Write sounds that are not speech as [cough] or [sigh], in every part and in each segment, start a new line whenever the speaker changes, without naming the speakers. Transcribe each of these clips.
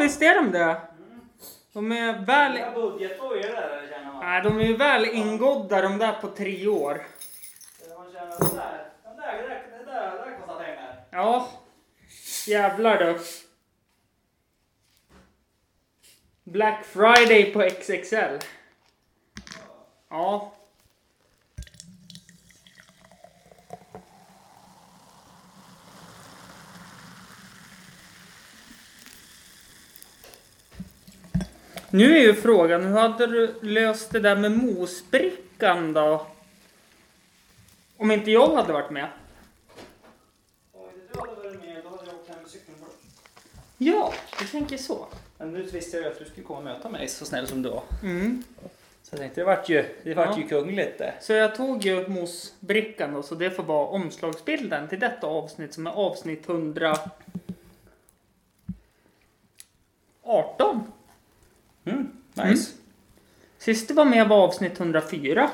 visst är de det. De är väl...
Inga budgetår är det där känner man.
Nej, de är ju väl ingodda de där på tre år.
Det Man känner sådär. Den där, det där, det där, det där kostar pengar.
Ja, jävlar du. Black Friday på XXL. Ja. Nu är ju frågan, hur hade du löst det där med mosbrickan då? Om inte jag hade varit med?
Om inte du hade varit med då hade jag åkt hem med cykeln bort.
Ja, jag tänker så.
Men nu visste jag ju att du skulle komma och möta mig så snäll som du var.
Mm.
Så jag tänkte det vart ju, det vart
Ja.
ju kungligt det.
Så jag tog ju mosbrickan då, så det får vara omslagsbilden till detta avsnitt som är avsnitt 118.
Mm, nice.
Sist du var med var avsnitt 104.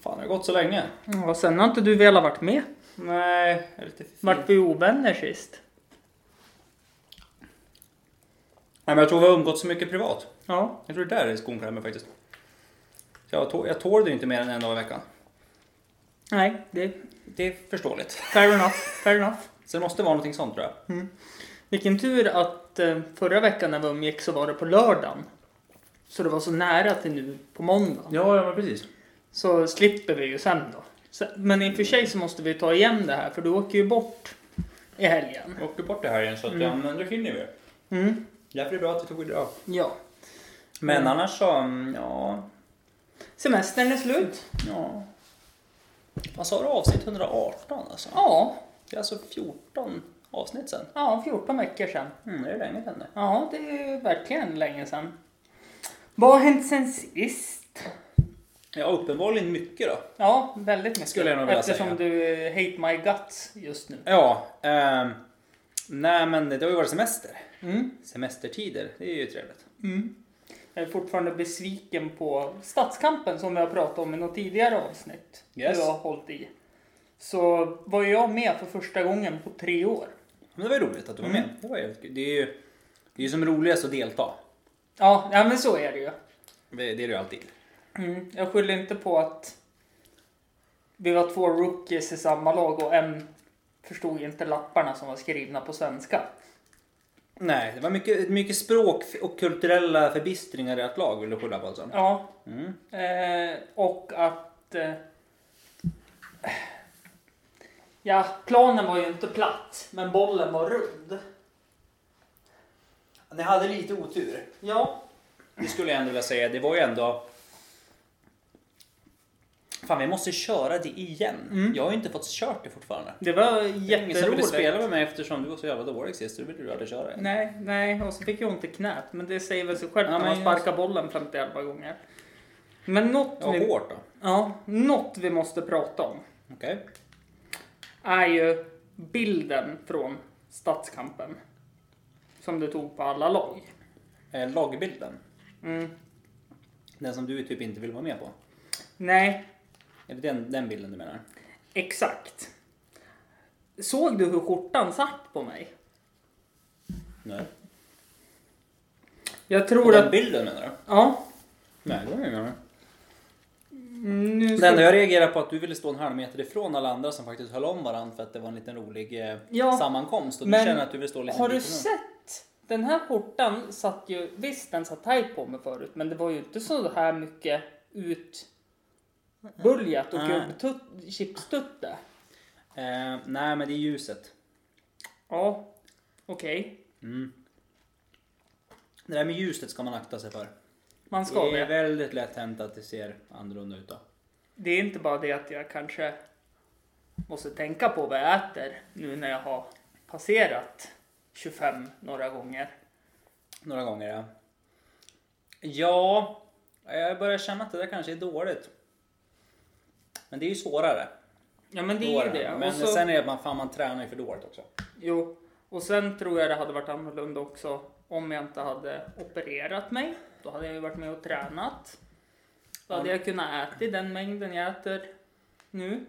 Fan det har gått så länge.
Ja, sen har inte du velat varit med.
Nej, jag är lite fin.
Vart vi ovänner sist?
Nej men jag tror vi har umgåtts så mycket privat.
Ja.
Jag tror det där är skon klämmer faktiskt. Så Jag, tå- jag tål det ju inte mer än en dag i veckan.
Nej, det är
Det är förståeligt.
fair enough. Fair enough.
Så det måste vara någonting sånt tror jag.
Vilken tur att eh, förra veckan när vi umgicks så var det på lördagen. Så det var så nära till nu på måndag.
Ja, ja men precis.
Så slipper vi ju sen då. Så- Men i och för sig så måste vi ta igen det här för du åker ju bort i helgen.
Vi åker bort det här igen så att ja, men då hinner vi.
Mm.
Därför är det bra att vi tog idag.
Ja.
Men
Mm.
annars så, mm, ja,
Semestern är slut.
ja. Vad sa du? Avsnitt 118 alltså?
Ja,
Det är alltså 14 avsnitt sen.
ja 14 veckor sedan.
Mm, det är länge sedan det.
Ja, det är ju verkligen länge sedan. Vad har hänt sen sist?
Ja, uppenbarligen mycket då.
Ja, väldigt mycket.
Skulle jag nog vilja
Eftersom
säga.
du eh, hate my guts just nu.
Ja, ehm, nej men det har ju varit semester.
Mm.
Semestertider, det är ju trevligt.
Jag är fortfarande besviken på stadskampen som vi har pratat om i något tidigare avsnitt.
Yes.
Du har hållit i. Så var jag med för första gången på tre år.
Men det var ju roligt att du var med. Det, var jävligt kul. det är ju det är ju som roligast att delta.
Ja, ja men så är det ju.
Det det är det ju alltid.
Mm. Jag skyller inte på att vi var två rookies i samma lag och en förstod inte lapparna som var skrivna på svenska.
Nej, det var mycket, mycket språk och kulturella förbistringar i ert lag vill du skylla på alltså?
Ja,
Mm.
eh, och att... Eh, ja, planen var ju inte platt, men bollen var rund.
Ni hade lite otur.
Ja,
Det skulle jag ändå vilja säga. Det var ju ändå... Fan, vi måste köra det igen. Jag har ju inte fått kört det fortfarande.
Mm. det var
Det är Ingen som ville
jätteroligt.
spela med mig eftersom du var så jävla dålig sist. så Du ville du aldrig köra det.
Nej, nej, och så fick jag ont i knät. Men det säger väl sig självt
Ja,
när man
men
sparkar bollen 50-11 gånger. Men något,
Ja,
vi,
hårt då.
ja, något vi måste prata om
Okej.
är ju bilden från stadskampen. Som du tog på alla lag.
Eh, lagbilden.
Mm.
Den som du typ inte vill vara med på.
Nej,
Är det den, den bilden du menar?
Exakt. Såg du hur skjortan satt på mig?
Nej.
Jag
På
tror
den
att...
bilden menar du?
Ja.
Nej, det var jag menar.
Mm, Nu
Det enda
ska...
jag reagerar på är att du ville stå en halv meter ifrån alla andra som faktiskt höll om varandra för att det var en liten rolig eh,
Ja,
sammankomst. Och du
men
känner att du vill stå lite
Har du
bit ifrån.
sett? Den här skjortan satt ju... Visst, den satt tajt på mig förut, men det var ju inte så här mycket utbuljat och
Nej.
gubbtut- chipstutte.
Eh, nej, men det är ljuset.
Ja, okej.
Mm. Det där med ljuset ska man akta sig för.
Man ska
det är
det.
väldigt lätt hänt att det ser annorlunda ut då.
Det är inte bara det att jag kanske måste tänka på vad jag äter nu när jag har passerat 25 några gånger.
Några gånger ja. Ja, jag börjar känna att det där kanske är dåligt. Men det är ju svårare.
Ja men det är ju
Svårare.
det.
Men
och, så,
sen är det att man, fan, man tränar ju för dåligt också.
jo, och sen tror jag det hade varit annorlunda också om jag inte hade opererat mig. Då hade jag ju varit med och tränat. Då hade jag kunnat äta den mängden jag äter nu.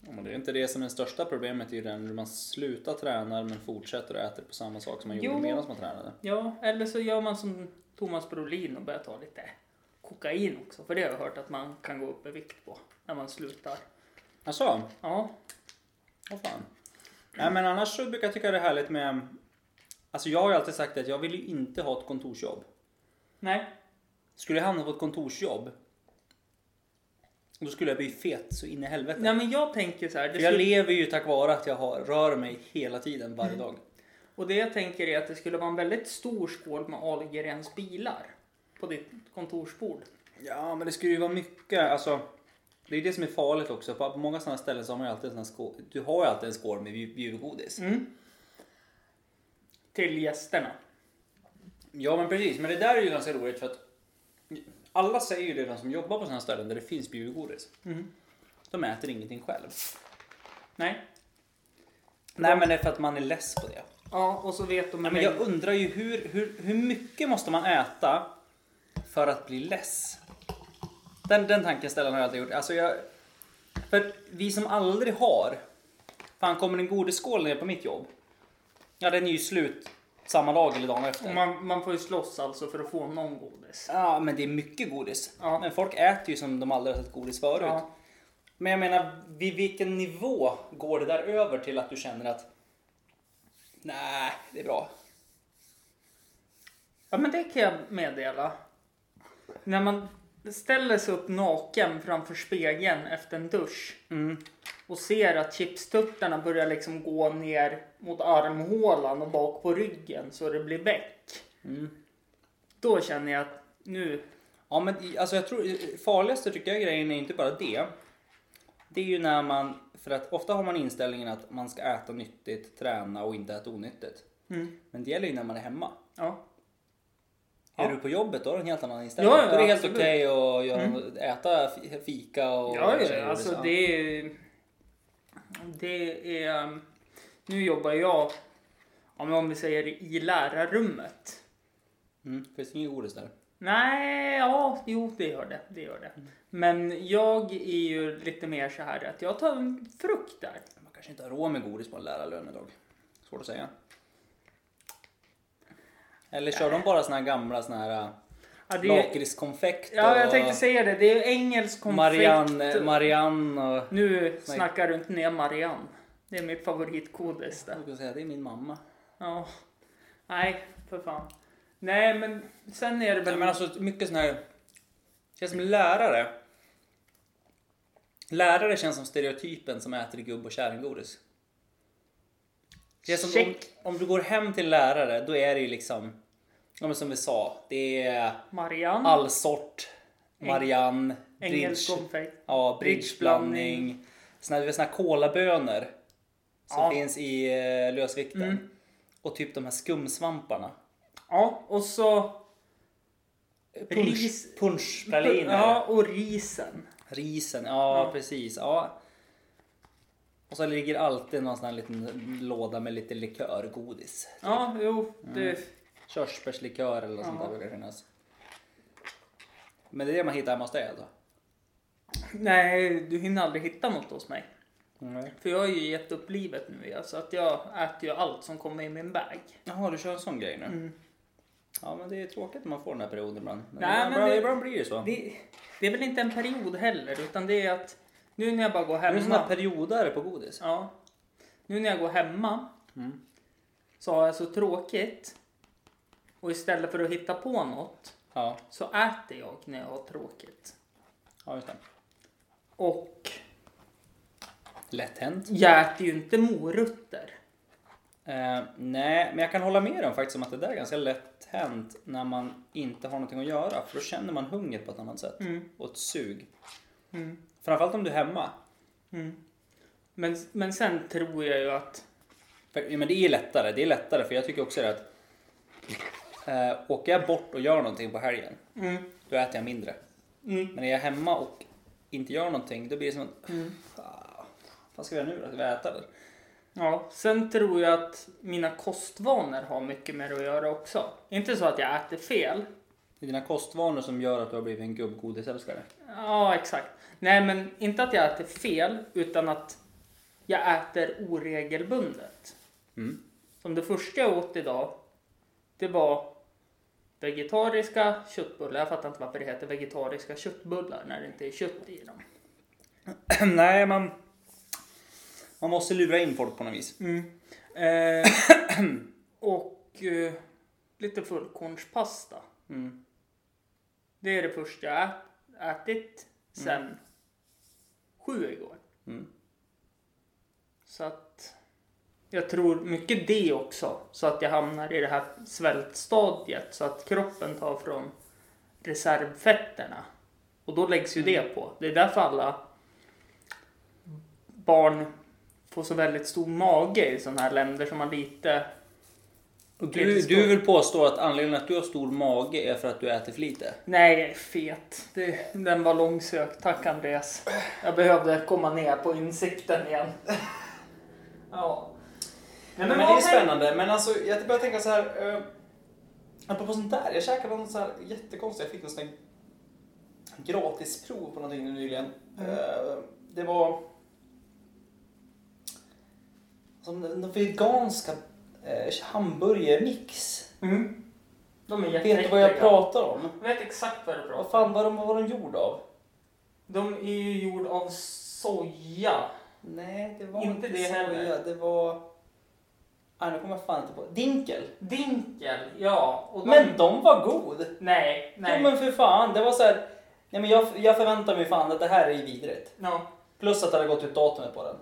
Ja, men det är inte det som är det största problemet, i den hur man slutar träna men fortsätter att äta på samma sak som man
Jo.
gjorde medan man tränade.
Ja, eller så gör man som Thomas Brolin och börjar ta lite kokain också. För det har jag hört att man kan gå upp i vikt på när man slutar.
Alltså,
Ja,
Vad fan. Nej men annars så brukar jag tycka det är härligt med... Alltså jag har ju alltid sagt att jag vill ju inte ha ett kontorsjobb.
nej.
Skulle jag hamna på ett kontorsjobb. Då skulle jag bli fet så in i helvete.
Nej men jag tänker så här. Det
För jag
skulle,
lever ju tack vare att jag har, rör mig hela tiden varje dag.
och det jag tänker är att det skulle vara en väldigt stor skål med Ahlgrens bilar på ditt kontorsbord.
Ja men det skulle ju vara mycket, alltså. Det är ju det som är farligt också. På på många sådana ställen så har man ju alltid en sån här skål. Du har ju alltid en skål med bju- bjudgodis.
Mm. Till gästerna.
Ja men precis, men det där är ju ganska roligt för att alla säger ju det, de som jobbar på sådana ställen där det finns bjudgodis. De äter ingenting själv.
Nej.
Nej men det är för att man är less på det.
Ja, och så vet de
Nej, men jag undrar ju hur, hur, hur mycket måste man äta för att bli less? Den, den tankeställaren har jag alltid gjort. Alltså jag, för vi som aldrig har. Fan kommer en godisskål ner på mitt jobb? Ja den är ju slut samma dag eller dagen efter.
Och man, man får ju slåss alltså för att få någon godis.
Ja, men det är mycket godis.
Ja.
Men folk äter ju som de aldrig har sett godis förut.
Ja.
Men jag menar, vid vilken nivå går det där över till att du känner att nej, det är bra.
Ja men det kan jag meddela. När man ställer sig upp naken framför spegeln efter en dusch och ser att chipstuttarna börjar liksom gå ner mot armhålan och bak på ryggen så det blir bäck. Mm. Då känner jag att nu,
Ja, men i- alltså jag tror farligaste tycker jag grejen är inte bara det. Det är ju när man, för att ofta har man inställningen att man ska äta nyttigt, träna och inte äta onyttigt.
Mm.
Men det gäller ju när man är hemma.
ja.
Är
Ja.
du på jobbet då har du en helt annan inställning.
Ja, ja,
då är det helt
absolut. Mm.
okej att göra, äta fi- fika och
Ja,
grejer,
ja alltså
liksom.
det är... Det är... um, Nu jobbar jag, ja, men om vi säger i lärarrummet.
Mm, finns det inget godis där?
Nej, ja, jo det gör det. det, gör det.
Mm.
Men jag är ju lite mer så här att jag tar en frukt där.
Man kanske inte har råd med godis på en lärarlön idag. Svårt att säga. Eller kör de bara såna här gamla såna här
Ja, det är,
lakritskonfekt
ja jag tänkte säga det, det är ju engelsk
och
konfekt.
Marianne, Marianne och...
nu snackar du inte ner Marianne. Det är mitt favoritgodis där.
Jag ska säga, det är min mamma.
Ja. Nej, för fan. Nej, men sen är det väl...
Men alltså mycket sån här... Känns som lärare. Lärare känns som stereotypen som äter gubb och kärringgodis. Det är som om,
Check.
om du går hem till lärare, då är det ju liksom... Ja men som vi sa, det är...
Marianne.
All sort. Marianne.
Engelsk
Bridge.
konfekt.
Ja, bridgeblandning. Såna, du vet, såna här kolabönor. Som
Ja. Mm.
finns i eh, lösvikten. Och typ de här skumsvamparna.
Ja, och så... Ris.
Punsch, punschpraliner.
Eh, Ja, och risen.
Risen, ja, precis. Ja. Och så ligger alltid någon sån här liten låda med lite likörgodis.
Ja, jo. Det,
Körsbärslikör eller något sånt där brukar det finnas. Men det är det man hittar hemma hos dig alltså?
Nej, du hinner aldrig hitta något hos mig.
Nej.
För jag har ju gett upp livet nu. ja, Så att jag äter ju allt som kommer i min bag.
Jaha, du kör en sån grej nu?
Mm.
Ja, men det är tråkigt när man får den här perioden ibland. Men
Nej,
ibland,
men det-
ibland blir det ju så. Det,
Det, det är väl inte en period heller, utan det är att nu när jag bara går
är såna här
hemma.
perioder på godis.
Ja. Nu när jag går hemma så har jag så tråkigt. Och istället för att hitta på något
Ja,
så äter jag när jag har tråkigt.
ja just det.
Och
Lätt hänt.
jag äter ju inte morötter.
Eh, nej, men jag kan hålla med om faktiskt om att det där är ganska lätt hänt när man inte har någonting att göra. För då känner man hunger på ett annat sätt. Och ett sug. Mm. Framförallt om du är hemma.
Men, men sen tror jag ju att...
För, ja, men det är lättare, det är lättare för jag tycker också det att eh, åker jag bort och gör någonting på helgen,
mm,
då äter jag mindre. Men är jag hemma och inte gör någonting, då blir det som att "Ah, vad ska vi göra nu då? Ska vi äta eller?
Ja, sen tror jag att mina kostvanor har mycket mer att göra också. Inte så att jag äter fel.
Det är dina kostvanor som gör att du har blivit en gubbgodisälskare.
Ja, exakt. Nej, men inte att jag äter fel, utan att jag äter oregelbundet.
Mm. [clears throat]
Som det första jag åt idag, det var vegetariska köttbullar. Jag fattar inte varför det heter vegetariska köttbullar när det inte är kött i dem.
Nej, man, man måste lura in folk på något vis.
Mm. Eh, [clears throat] och eh, lite fullkornspasta.
Mm.
Det är det första jag ät- ätit sen sju igår.
Mm.
Så att jag tror mycket det också. Så att jag hamnar i det här svältstadiet. Så att kroppen tar från reservfetterna. Och då läggs ju det på. Det är därför alla barn får så väldigt stor mage i sådana här länder som har lite...
Och
Det är
du,
inte
du
stor-
vill påstå att anledningen att du har stor mage är för att du äter för lite?
Nej, jag är fet. Det, den var långsökt. Tack Andreas. Jag behövde komma ner på insikten igen. [laughs] Ja.
Nej, men, det är spännande. Men alltså, jag börjar tänka så här. Eh, apropå sånt där. Jag käkade något så här jättekonstigt. Jag fick någon sån här gratisprov på någonting nyligen.
Mm.
Eh, det var... Som den den veganska eh, hamburgermix.
Mm. De är
Vet du vad jag
jätteäckliga.
pratar om?
Jag vet exakt vad du pratar
Vad
om.
fan var de, vad var de gjord av?
De är ju gjord av soja.
Nej, det var
Inte det
soja,
heller.
Det var... Ah, nu kommer jag fan inte på. Dinkel.
Dinkel, ja. Och de,
Men de var god.
Nej,
Nej.
nej.
Ja, men för fan, det var så här. Nej, men jag, jag förväntar mig fan att det här är ju vidrigt.
Ja,
Plus att det hade gått ut datumet på den.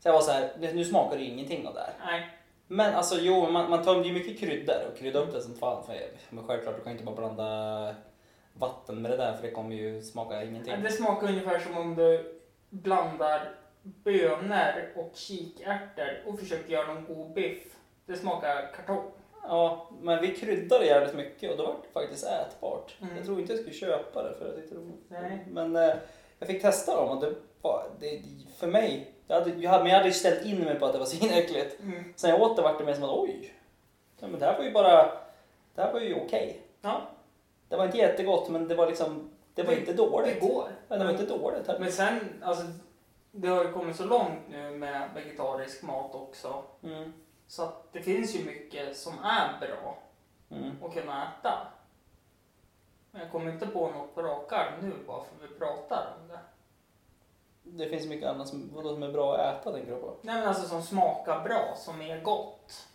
Så jag var så här, nu nu smakar det ju ingenting av det här.
nej.
Men alltså jo, man, man tömde ju mycket kryddor och kryddade upp det som fan. För, men självklart, du kan ju inte bara blanda vatten med det där för det kommer ju smaka ingenting.
Det smakar ungefär som om du blandar bönor och kikärtor och försöker göra någon god biff. Det smakar kartong.
Ja, men vi kryddade jävligt mycket och då var det faktiskt ätbart.
Mm.
Jag tror inte jag skulle köpa det för jag tyckte det var...
Nej.
Men eh, jag fick testa dem och det var, det, för mig, jag hade, jag hade, men jag hade ju ställt in mig på att det var [laughs] svinäckligt.
Mm.
Sen jag åt det vart det mer som att oj, ja, men det här var ju bara, det här var ju okej.
Ja,
Det var inte jättegott men det var liksom, det var inte
det
dåligt.
går.
Men det var inte dåligt. heller.
Men sen, alltså, det har ju kommit så långt nu med vegetarisk mat också.
Mm.
Så att det finns ju mycket som är bra.
Mm.
och kunna äta. Men jag kommer inte på något på rak arm nu bara för vi pratar om det.
Det finns mycket annat som, vadå, som är bra att äta tänker du på?
Nej men alltså som smakar bra, som är gott.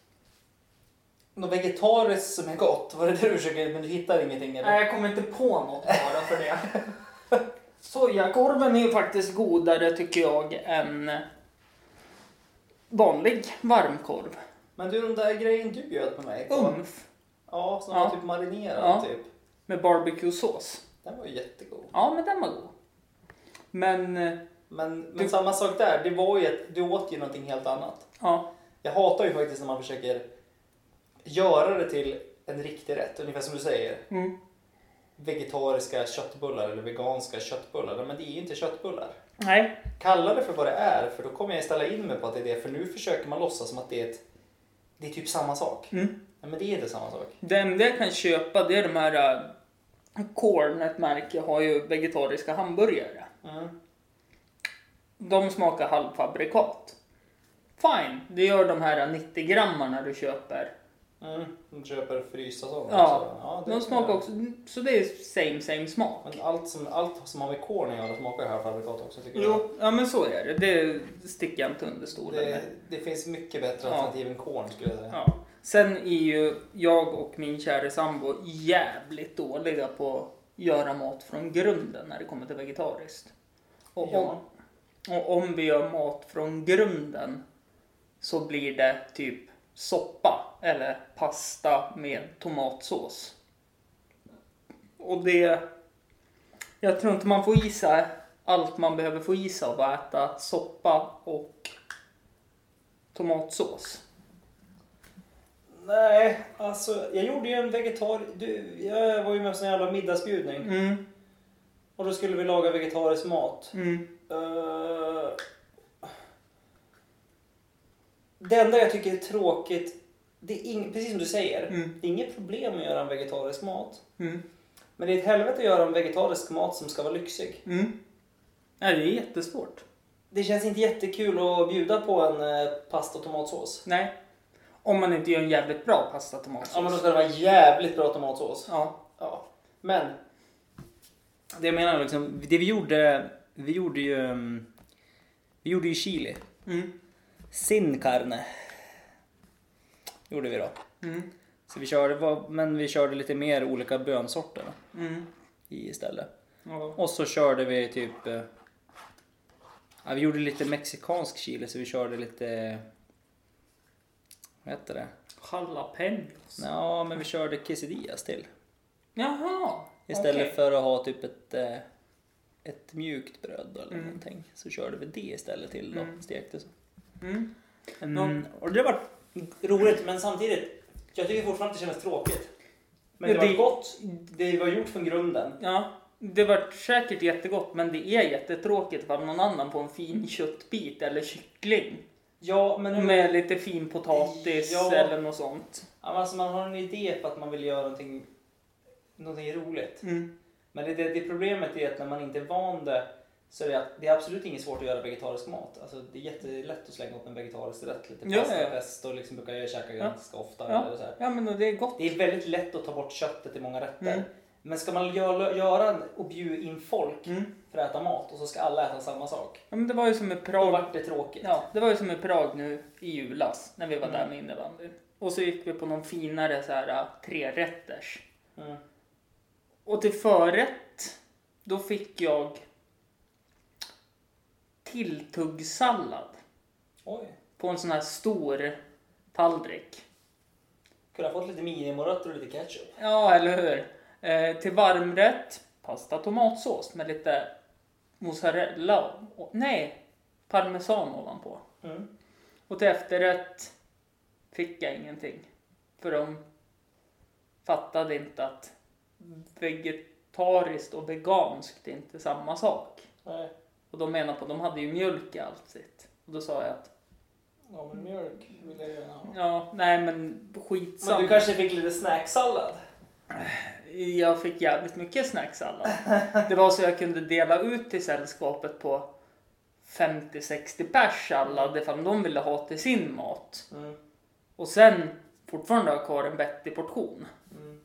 Något vegetariskt som är gott, var det det du försökte, men du hittar ingenting eller?
Nej jag kommer inte på något bara för det. [laughs] Sojakorven är ju faktiskt godare tycker jag än vanlig varmkorv.
Men du, den där grejen du bjöd på mig. på-
Umf
Ja, som
Oh. Ja.
var typ marinerad
Ja.
typ.
med barbecuesås.
Den var ju jättegod.
Ja men den var god. Men eh,
Men, men
Du-
samma sak där, det var ju att du åt ju någonting helt annat.
ja,
Jag hatar ju faktiskt när man försöker göra det till en riktig rätt, ungefär som du säger.
Mm.
Vegetariska köttbullar eller veganska köttbullar, Nej, men det är ju inte köttbullar.
nej.
Kalla det för vad det är, för då kommer jag ställa in mig på att det är det, för nu försöker man låtsas som att det är, ett, det är typ samma sak.
Mm.
Nej, men det är inte samma sak.
Det enda jag kan köpa det är de här eh, Korn, ett märke, har ju vegetariska hamburgare.
Mm.
De smakar halvfabrikat. Fine, det gör de här 90 grammarna du köper.
Mm. De köper frysta sådana
Ja,
det
de
kan
smakar
jag-
också, så det är same same smak.
Men allt som, allt som har med korn att göra smakar här fabrikat också tycker jag.
Jo, ja men så är det. Det sticker jag inte under stolen
Det,
med.
det finns mycket bättre
Ja.
alternativ än korn skulle jag säga.
Ja. Sen är ju jag och min kära sambo jävligt dåliga på att göra mat från grunden när det kommer till vegetariskt. Och om,
Ja.
och om vi gör mat från grunden så blir det typ soppa eller pasta med tomatsås. Och det... Jag tror inte man får isa allt man behöver få isa av att äta soppa och tomatsås.
Nej, alltså jag gjorde ju en vegetar... Du, jag var ju med på en jävla middagsbjudning
Mm,
och då skulle vi laga vegetarisk mat.
mm.
Eh, Det enda jag tycker är tråkigt, det är ing, precis som du säger,
Mm.
det är inget problem att göra en vegetarisk mat.
Mm.
Men det är ett helvete att göra en vegetarisk mat som ska vara lyxig.
Mm. Nej, det är jättesvårt.
Det känns inte jättekul att bjuda på en eh, pasta och tomatsås.
Nej. Om man inte gör en jävligt bra pasta tomatsås.
Ja men då ska det vara jävligt bra tomatsås.
Ja.
Ja. Men.
Det jag menar liksom, det vi gjorde, vi gjorde ju, mm, vi gjorde ju chili.
Mm.
Sin carne. Gjorde vi då.
Mm.
Så vi körde, vad- men vi körde lite mer olika bönsorter då,
Mm.
i istället.
Ja.
Och så körde vi typ... eh, Ja, vi gjorde lite mexikansk chili så vi körde lite... Vad heter det?
Jalapenos.
Ja, men vi körde quesadillas till.
Jaha.
Istället
okej.
för att ha typ ett, eh, ett mjukt bröd eller
Mm.
någonting så körde vi det istället till då.
Mm.
Stekte så.
Mm.
Mm.
Och det var roligt men samtidigt. Jag tycker fortfarande att det kändes tråkigt. Men det,
Ja,
var
det-
gott. Det var gjort från grunden.
Ja. Det var säkert jättegott men det är jättetråkigt ifall någon annan får en fin köttbit eller kyckling.
Ja men hur
Med lite fin potatis
Ja.
eller något sånt.
Ja, men Alltså man har en idé på att man vill göra någonting, någonting roligt.
Mm.
Men det, det, det problemet är att när man inte är van det så är det, att- det är absolut inget svårt att göra vegetarisk mat. Alltså, det är jättelätt att slänga upp en vegetarisk rätt. Lite
Ja,
pasta,
ja, ja.
pesto liksom brukar jag käka
Ja.
ganska ofta.
Ja.
Eller så här.
Ja men och det är gott.
Det är väldigt lätt att ta bort köttet i många rätter.
Mm.
Men ska man göra, göra en- och bjuda in folk
Mm.
för att äta mat och så ska alla äta samma sak.
Ja, men det var ju som i
Då
Prag.
vart det tråkigt.
Ja, det var ju som i Prag nu i julas när vi var där med innebandy. Och så gick vi på någon finare så här äh, trerätters.
Mm.
Och till förrätt, då fick jag tilltuggsallad
Oj,
på en sån här stor tallrik.
kunde ha fått lite minimorötter och lite ketchup.
Ja, eller hur? Eh, till varmrätt, pasta tomatsås med lite mozzarella, och, nej, parmesan ovanpå.
Mm.
Och till efterrätt fick jag ingenting. För de fattade inte att vegetariskt och veganskt är inte samma sak.
Nej,
Och de menar på att de hade ju mjölk i allt sitt. Och då sa jag att
ja, men mjölk vill jag gärna ha.
ja, nej men skitsamma.
Men du kanske fick lite snacksallad?
Jag fick jävligt mycket snacksallad. Det var så jag kunde dela ut till sällskapet på 50-60 pers sallad ifall de ville ha till sin mat.
Mm.
Och sen fortfarande ha kvar en vettig portion.
Mm.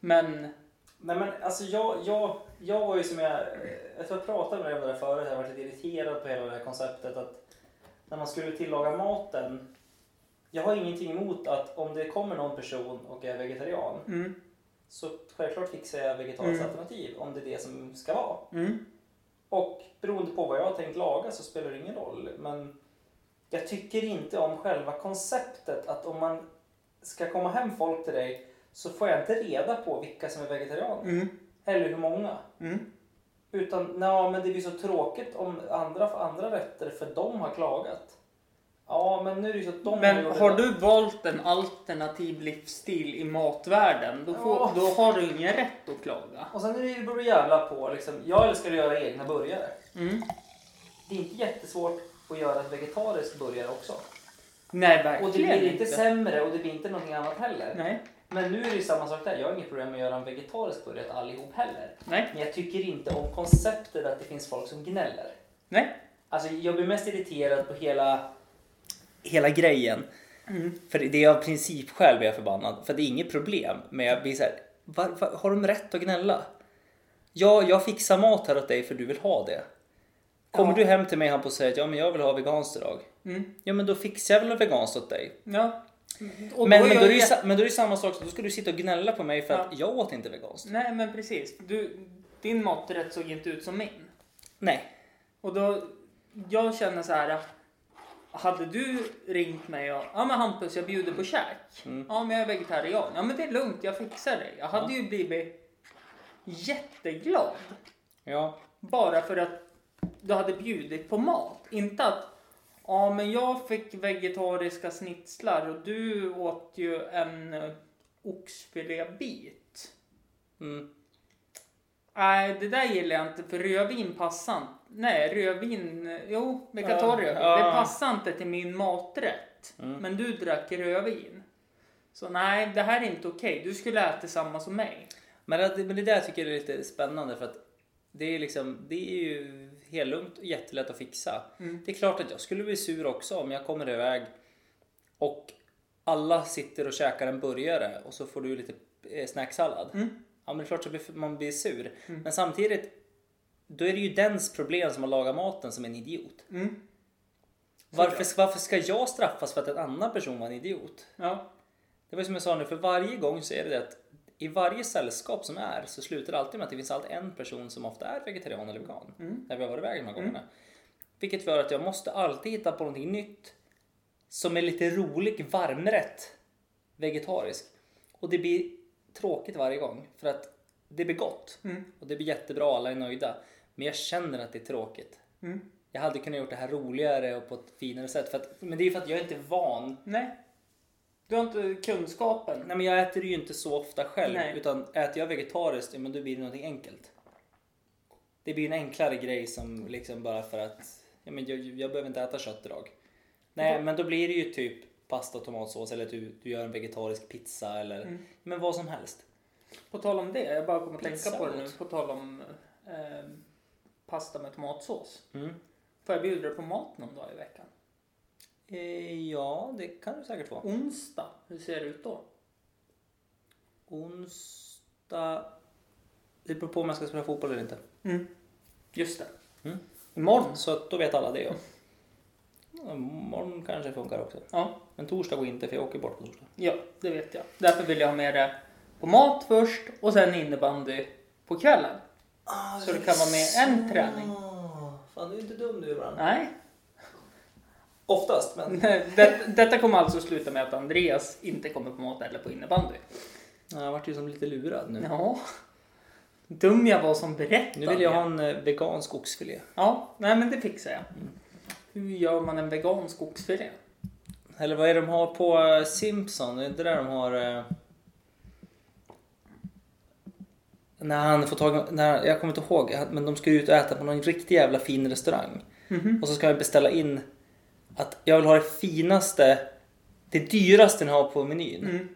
Men
Nej men alltså jag, jag, jag var ju som jag, jag tror jag pratade med dig om det där förut, jag var lite irriterad på hela det här konceptet att när man skulle tillaga maten, jag har ingenting emot att om det kommer någon person och är vegetarian
Mm.
så självklart fixar jag vegetariskt
Mm.
alternativ om det är det som ska vara.
Mm.
Och beroende på vad jag har tänkt laga så spelar det ingen roll. Men jag tycker inte om själva konceptet att om man ska komma hem folk till dig så får jag inte reda på vilka som är vegetarianer.
Mm.
Eller hur många.
Mm.
Utan ja, men det blir så tråkigt om andra får andra rätter för de har klagat. Ja, men nu är det ju så att de
Men
gjort
har
det.
du valt en alternativ livsstil i matvärlden då, får,
Ja.
då har du ingen rätt att klaga.
Och sen är det ju bara att jävla på liksom. Jag älskar att göra egna burgare.
Mm.
Det är inte jättesvårt att göra ett vegetariskt burgare också.
Nej,
Och
verkligen
det blir inte
inte.
sämre och det blir inte någonting annat heller.
Nej,
Men nu är det ju samma sak där. Jag har inget problem med att göra en vegetarisk burgare till allihop heller.
nej,
Men jag tycker inte om konceptet att det finns folk som gnäller.
nej.
Alltså jag blir mest irriterad på hela...
Hela grejen.
Mm.
För det är av principskäl blir jag förbannad. För det är inget problem. Men jag blir såhär, var, var, har de rätt att gnälla? Ja, jag fixar mat här åt dig för du vill ha det. Kommer
Ja.
du hem till mig han på och säger att ja, men jag vill ha veganskt idag.
Mm.
Ja, men då fixar jag väl veganskt åt dig.
Ja. Och
Men, men,
gör
då är det ju,
jag-
sa- men då är det ju samma sak, då ska du sitta och gnälla på mig för att jag åt inte veganskt.
Nej, men precis. Du, din maträtt såg inte ut som min.
Nej.
Och då, jag känner så här. Hade du ringt mig och ja men Hampus jag bjuder på käk. Ja men jag är vegetarian. Ja men det är lugnt jag fixar det. Jag hade ju blivit jätteglad.
Ja.
Bara för att du hade bjudit på mat. Inte att ja men jag fick vegetariska snitslar och du åt ju en eh, oxfilébit.
Mm.
Nej, det där gillar jag inte för rödvin passar inte. Nej, rödvin, jo, vi kan ta
Ja,
rödvin.
ja.
Det passar inte till min maträtt.
Mm.
Men du drack rödvin. Så nej, det här är inte okej. Du skulle äta samma som mig.
Men, det, men det där tycker jag är lite spännande för att
Det är, liksom, det är ju helt lugnt och jättelätt att fixa. Det är klart att jag skulle bli sur också om jag kommer iväg och alla sitter och käkar en burgare och så får du lite eh, snacksallad. Ja men det är klart att blir- man blir sur. Men samtidigt, då är det ju dens problem som har lagat maten som är en idiot.
Mm.
Varför, varför ska jag straffas för att en annan person var en idiot?
Ja.
Det var ju som jag sa nu, för varje gång så är det det att i varje sällskap som är så slutar det alltid med att det finns alltid en person som ofta är vegetarian eller vegan. När vi har varit iväg de här gångerna. Vilket gör att jag måste alltid hitta på någonting nytt som är lite rolig varmrätt vegetarisk. Och det blir tråkigt varje gång för att det blir gott
Mm.
och det blir jättebra, alla är nöjda. Men jag känner att det är tråkigt.
Mm.
Jag hade kunnat gjort det här roligare och på ett finare sätt. För att, men det är ju för att jag är inte van
Nej. Du har inte kunskapen.
Nej men jag äter ju inte så ofta själv
Nej.
utan äter jag vegetariskt, ja, men då blir det någonting enkelt. Det blir en enklare grej som liksom bara för att ja, men jag, jag behöver inte äta kött idag. Nej men då blir det ju typ pasta och tomatsås eller att du, du gör en vegetarisk pizza eller men vad som helst.
På tal om det, jag bara kommer att
Pizza
tänka på det nu.
åt.
På tal om eh, pasta med tomatsås.
Mm.
Får jag bjuda dig på mat någon dag i veckan?
Eh, ja det kan du säkert få.
Onsdag, hur ser det ut då?
Onsdag. Det beror på om jag ska spela fotboll eller inte.
Mm.
Just det.
Mm.
Imorgon?
Så att då vet alla det ja. Imorgon kanske funkar också.
Ja.
Men torsdag går inte för jag åker bort på torsdag.
ja, det vet jag. Därför vill jag ha med det på mat först och sen innebandy på kvällen. Så Ah, det kan vara med en träning.
Fan, du är inte dum du ibland.
Nej, [laughs]
Oftast, men...
Det, detta kommer alltså sluta med att Andreas inte kommer på mat eller på innebandy.
Jag vart ju som lite lurad nu.
Ja. Dum jag var som berättade.
Nu vill jag ha en eh, vegansk oxfilé.
Ja, nej men det fixar jag. Hur gör man en vegan skogsfilé?
Eller vad är det de har på eh, Simpson? Är det inte där de har... eh, När han får tag när, Jag kommer inte ihåg, han- men de ska ju ut och äta på någon riktigt jävla fin restaurang. Och så ska jag beställa in att jag vill ha det finaste, det dyraste ni har på menyn.
Mm.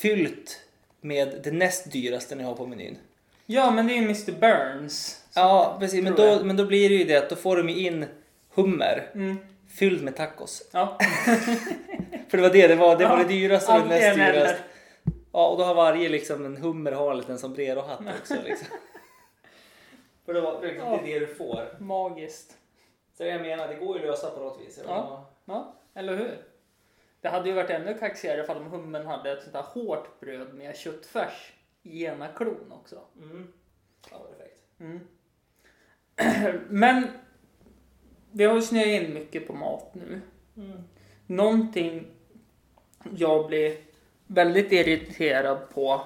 Fyllt med det näst dyraste ni har på menyn.
Ja, men det är ju Mr Burns.
Ja, precis. Men
tror
då,
jag.
men då blir det ju det att då får de ju in hummer
Mm.
fylld med tacos.
Ja.
För det var det det var. Det var
Ja,
det dyraste och det
alltid
näst
en eller.
dyraste. Ja, och då har varje liksom en hummer har en liten sombrerohatt också. Liksom. [laughs] För liksom, det var
det är
det du får.
Magiskt.
Så jag menar, det går ju att lösa på något vis.
Ja. Ja, eller hur? Det hade ju varit ännu kaxigare ifall om hummen hade ett sånt där hårt bröd med köttfärs i ena klon också. Mm.
Mm. Ja, perfekt.
[clears throat] Men vi har ju snöat in mycket på mat nu.
Mm.
Någonting jag blir väldigt irriterad på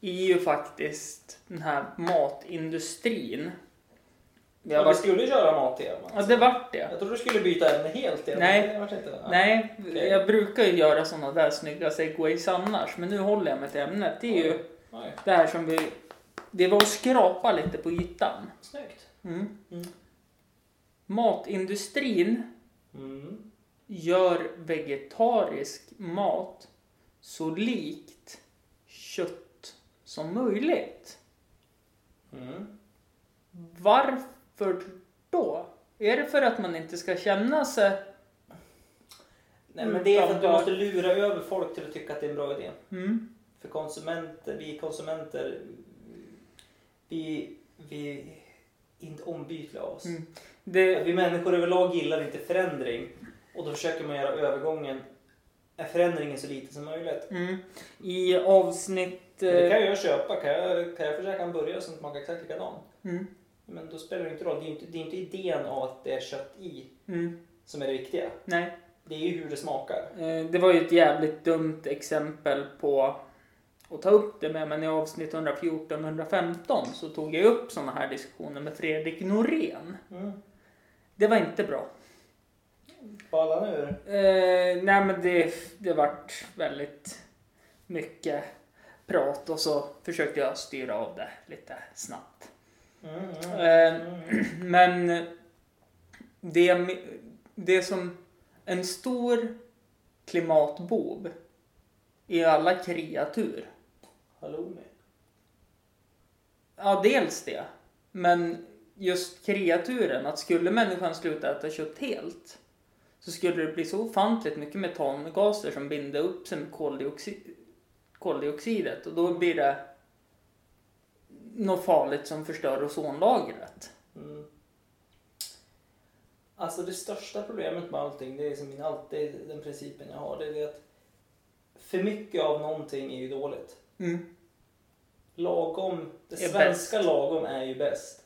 är ju faktiskt den här matindustrin. Vi har varit,
skulle köra mat-tema.
ja, det vart det.
trodde du skulle byta ämne helt.
men Nej.
Det inte,
Nej,
Okej.
jag brukar ju göra sådana där snygga segways annars, men nu håller jag mig till ämnet. Det är ju det här som vi... Det var att skrapa lite på ytan.
Snyggt. Mm.
Matindustrin
Mm.
gör vegetarisk mat så likt kött som möjligt.
Mm.
Varför då? Är det för att man inte ska känna sig...
Nej, men det är för att du måste
Utanför.
lura över folk till att tycka att det är en bra idé.
Mm,
För konsumenter, vi konsumenter, vi, vi är inte ombytliga av oss.
Mm. det,
Vi människor överlag gillar inte förändring och då försöker man göra övergången, är förändringen så liten som möjligt.
mm, I avsnitt...
Men det
eh,
kan jag köpa, kan jag, kan jag försöka en burgare som smakar exakt likadan?
Mm,
Men då spelar det inte roll, det är ju inte, det är inte idén av att det är kött i
mm,
som är det viktiga.
nej.
Det är ju hur det smakar.
Eh, Det var ju ett jävligt dumt exempel på att ta upp det med, men i avsnitt 114-115 så tog jag upp sådana här diskussioner med Fredrik Norén.
Mm.
Det var inte bra.
Ballan ur.
Eh, nej men det, det vart väldigt mycket prat och så försökte jag styra av det lite snabbt.
Mm, mm,
Eh, [clears throat]
mm.
Men det, det som en stor klimatbov är alla kreatur.
Halloumi.
Ja, dels det. Men just kreaturen, att skulle människan sluta äta kött helt så skulle det bli så ofantligt mycket metangaser som binder upp sig med koldioxid, koldioxidet och då blir det något farligt som förstör ozonlagret.
Mm. Alltså det största problemet med allting, det är som min, alltid den principen jag har, det är det att för mycket av någonting är ju dåligt.
Mm.
Lagom, det
Är
svenska
bäst.
lagom är ju bäst.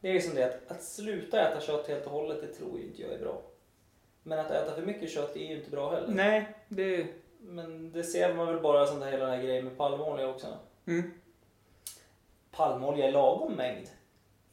Det är ju som det att, att sluta äta kött helt och hållet, det tror ju inte jag är bra. Men att äta för mycket kött är ju inte bra heller.
Nej, det...
Men det ser man väl bara som det hela den här grejen med palmolja också.
Mm.
Palmolja i lagom mängd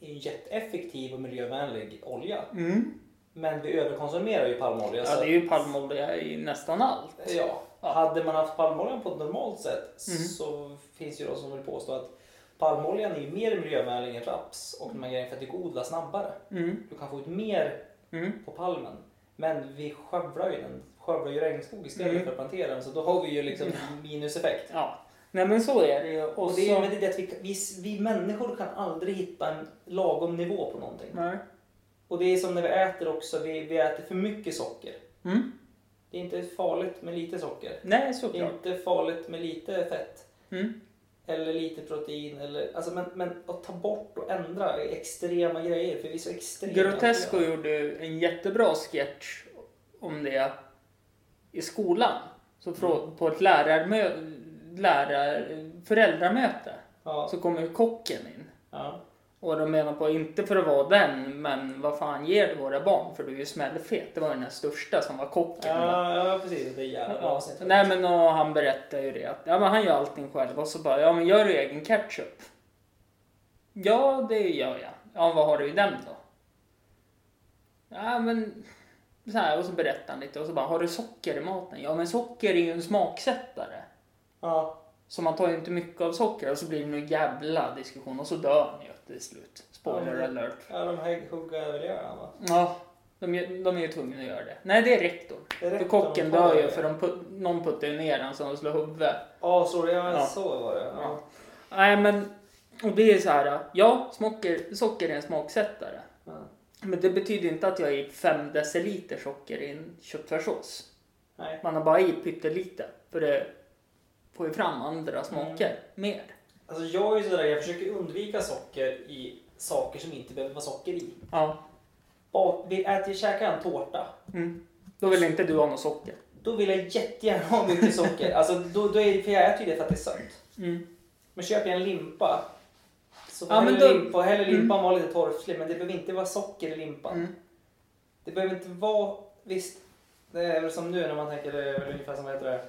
är ju en jätteeffektiv och miljövänlig olja.
Mm.
Men vi överkonsumerar ju palmolja. eh,
Ja, det är ju palmolja i nästan allt.
ja. Hade man haft palmoljan på ett normalt sätt
Mm.
så finns ju de som vill påstå att palmoljan är ju mer miljövänlig än raps och de här grejerna för att det går att odla snabbare.
Mm.
Du kan få ut mer
Mm.
på palmen. Men vi skövlar ju den. Skövlar ju regnskog istället
Mm.
för att plantera den. Så då har vi ju liksom minuseffekt.
Ja. Nej men så är det ju. Och
Och det är
så-
ju med det att vi, vi, vi människor kan aldrig hitta en lagom nivå på någonting.
Nej.
Och det är som när vi äter också, vi, vi äter för mycket socker.
Mm.
Det är inte farligt med lite socker.
Nej,
Det är
såklart.
inte farligt med lite fett.
Mm.
Eller lite protein. Eller, alltså, men, men att ta bort och ändra är extrema grejer. För vi är så extrema.
Grotesco gjorde en jättebra sketch om det i skolan. Så frå- på ett lärarmö- lärar- föräldramöte
Ja.
så kommer kocken in.
ja.
Och de menar på, inte för att vara den, men vad fan ger du våra barn? För du är ju smällfet. Det var ju den här största som var kocken.
Ja, ja, precis. Det är jävla bra avsnitt.
Nej men och han berättar ju det att ja, men han gör allting själv och så bara ja men gör du egen ketchup? Ja det gör jag. Ja vad har du i den då? Ja men så här och så berättar han lite och så bara har du socker i maten? Ja men socker är ju en smaksättare.
Ja.
Så man tar ju inte mycket av socker och så blir det någon jävla diskussion och så dör han ju till slut. Spoiler
Ja.
alert.
ja, de här huggöverlevarna va?
Ja, de, är- de är ju tvungna att göra det. Nej det är rektorn.
Det är
För
rektorn
kocken
som tar
dör ju
det.
för de put, någon puttar ju ner han så han slår huvudet.
Ja, sorry. Ja, men
Ja.
så var det. Ja.
Nej men, och det är så här. Ja, smocker, socker är en smaksättare.
Ja.
Men det betyder inte att jag är i 5 deciliter socker i en köttfärssås.
Nej.
Man har bara i pyttelite. För det får ju fram andra smaker
Mm.
mer.
Alltså jag är ju sådär, jag försöker undvika socker i saker som inte behöver vara socker i.
Ja.
Bak, vi äter ju käkar en tårta.
Mm. Då vill inte du ha något socker.
Då vill jag jättegärna ha mycket socker. Alltså, då, då är, för jag äter ju det för att det är sött.
Mm.
Men köper jag en limpa så får
Ja,
ja,
men
hellre,
då-
limpa, hellre limpan vara lite torftig. Men det behöver inte vara socker i limpan.
Mm.
Det behöver inte vara... Visst, det är väl som nu när man tänker, det är väl ungefär som vad heter det?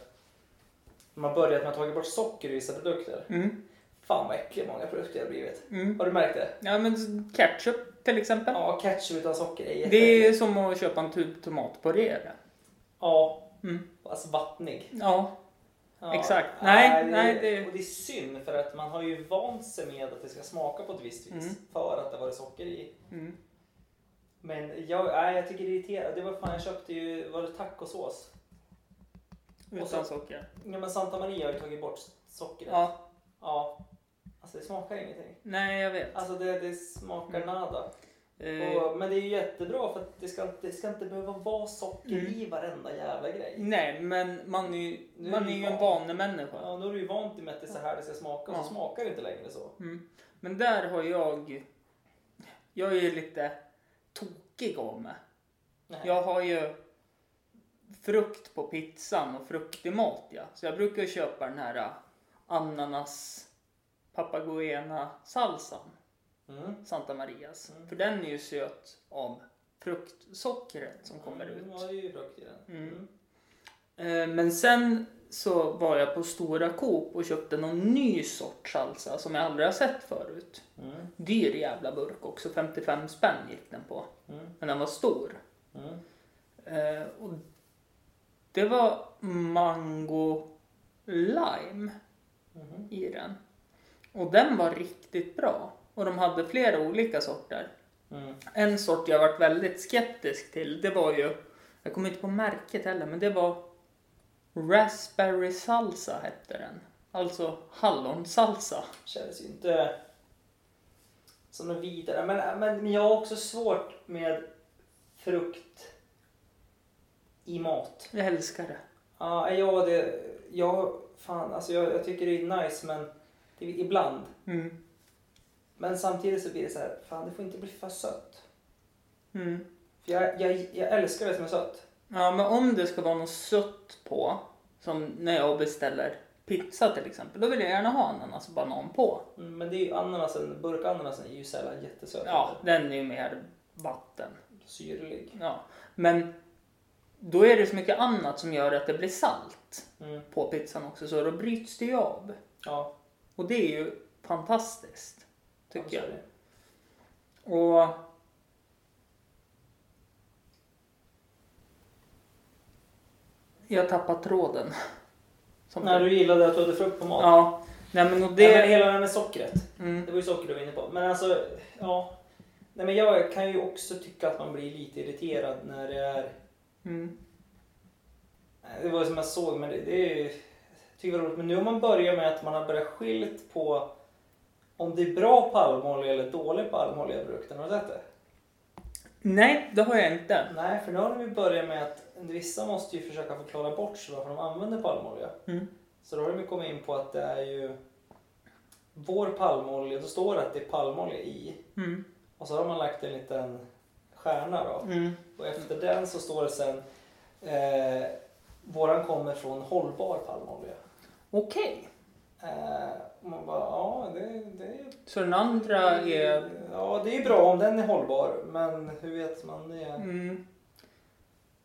När man börjat med att ta bort socker i vissa produkter.
Mm.
Fan vad äckliga många produkter det har blivit.
Mm.
Har du märkt det?
Ja men ketchup till exempel.
Ja, ketchup utan socker är
Det
jätteäckligt.
är som att köpa en tub tomatpuré. eller?
Ja,
Mm.
alltså vattnig.
Ja.
Ja.
Exakt. Nej, nej, det-
Och det är synd för att man har ju vant sig med att det ska smaka på ett visst vis
Mm.
för att det var det socker i.
Mm.
Men jag, nej, jag tycker det är irriterande. Det var fan, jag köpte ju, var det tacosås? Och så-
Utan socker.
Ja men Santa Maria har ju tagit bort sockret.
Ja.
Ja. Alltså det smakar ingenting.
Nej jag vet.
Alltså det, det smakar
Mm.
nada.
Eh,
Och, men det är ju jättebra för att det ska, inte- det ska inte behöva vara socker
Mm.
i varenda jävla grej.
Nej, men man är ju,
Nu är
man
du
är ju
van.
en vanemänniska.
Ja, nu är du ju vant dig med att det är så här det ska smaka och
Ja.
så smakar det inte längre så.
Mm. Men där har jag... Jag är ju lite tokig av mig.
Nej.
Jag har ju frukt på pizzan och frukt i mat. Ja. Så jag brukar ju köpa den här ä, ananas papagena salsan
Mm.
Santa Marias.
Mm.
För den är ju söt av fruktsockret som kommer
Mm,
ut.
Ja, det är ju frukt i den.
Mm.
Mm.
Eh, Men sen så var jag på Stora Coop och köpte någon ny sorts salsa som jag aldrig har sett förut.
Mm.
Dyr jävla burk också, 55 spänn gick den på.
Mm.
Men den var stor.
Mm.
Eh, Och det var mango lime
Mhm.
i den. Och den var riktigt bra. Och de hade flera olika sorter.
Mm.
En sort jag varit väldigt skeptisk till, det var ju, jag kommer inte på märket heller, men det var Raspberry salsa hette den. Alltså hallonsalsa.
Kändes ju inte som något vidare. Men, men, men jag har också svårt med frukt i mat.
Jag älskar det.
Ja, ja, det, ja fan, alltså jag, jag tycker det är nice men det, är ibland.
Mm.
Men samtidigt så blir det så här, fan det får inte bli för sött.
Mm.
För jag, jag, jag älskar det som är sött.
Ja, men om det ska vara något sött på, som när jag beställer pizza till exempel, då vill jag gärna ha en alltså banan på.
Mm, Men det är ju ananasen, burkananasen är ju sällan jättesöt.
Ja, den är ju mer vatten.
Syrlig.
Ja. Men då är det så mycket annat som gör att det blir salt
Mm.
på pizzan också, så då bryts det ju av.
Ja,
Och det är ju fantastiskt, tycker
så är
jag.
det.
Och... Jag tappar tråden. Som
När du gillade att du hade frukt på mat.
Ja. Nej men och
Det... Ja, men
det...
hela det här med sockret.
Mm.
Det var ju socker du var inne på. Men alltså, ja. Nej, men jag kan ju också tycka att man blir lite irriterad när det är...
Mm.
Det var ju som jag såg, men det, det är ju... Jag tycker det var roligt. Men nu om man börjar med att man har börjat skilt på om det är bra palmolja eller dålig palmolja i produkten. Har du sett det?
Nej, det har jag inte.
Nej, för nu har de ju börjat med att vissa måste ju försöka förklara bort sig varför de använder palmolja.
Mm.
Så då har de ju kommit in på att det är ju vår palmolja, då står det att det är palmolja i.
Mm.
Och så har man lagt en liten stjärna då.
Mm.
Och efter den så står det sen eh, våran kommer från hållbar palmolja.
Okej.
Eh, och man bara, ja det, det är ju...
Så den andra är...
Ja, det är ju bra om den är hållbar, men hur vet man det?
Mm.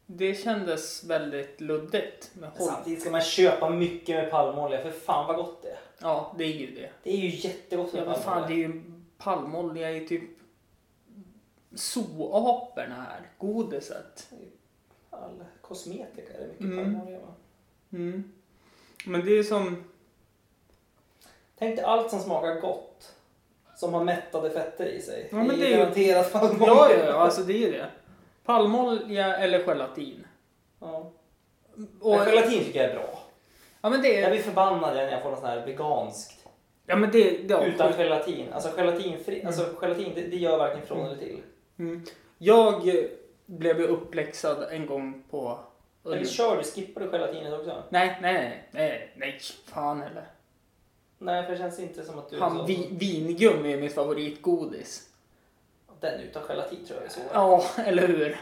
Det kändes väldigt luddigt. Med håll...
Samtidigt ska man köpa mycket med palmolja, för fan vad gott det är.
Ja, det är ju det.
Det är ju jättegott
Ja,
med
vad fan, det är
palmolja.
ju palmolja i typ zooaporna här. Godiset.
All kosmetika är det mycket
Mm.
palmolja va?
Mm. Men det är som...
Tänk dig allt som smakar gott, som har mättade fetter i sig.
Ja, men
det
det
är
är
ju
ju-
garanterat palmolja.
Ja, ja, ja, alltså det är ju det. Palmolja eller gelatin.
Ja.
Och,
Men gelatin tycker jag är bra.
ja, men det
Jag
är...
blir förbannad när jag får något sånt här veganskt.
Ja, men det... Ja,
Utan gelatin. Alltså gelatinfri, alltså gelatin det, det gör varken från eller till.
Mm. Jag eh, blev ju uppläxad en gång på...
Eller kör du, skippar du gelatinet också?
Nej, nej, nej, nej, nej, fan heller.
Nej, för det känns inte som att du...
Han, vi, vingummi är mitt favoritgodis.
Den utan gelatin tror jag är svårare.
Ja, eller hur?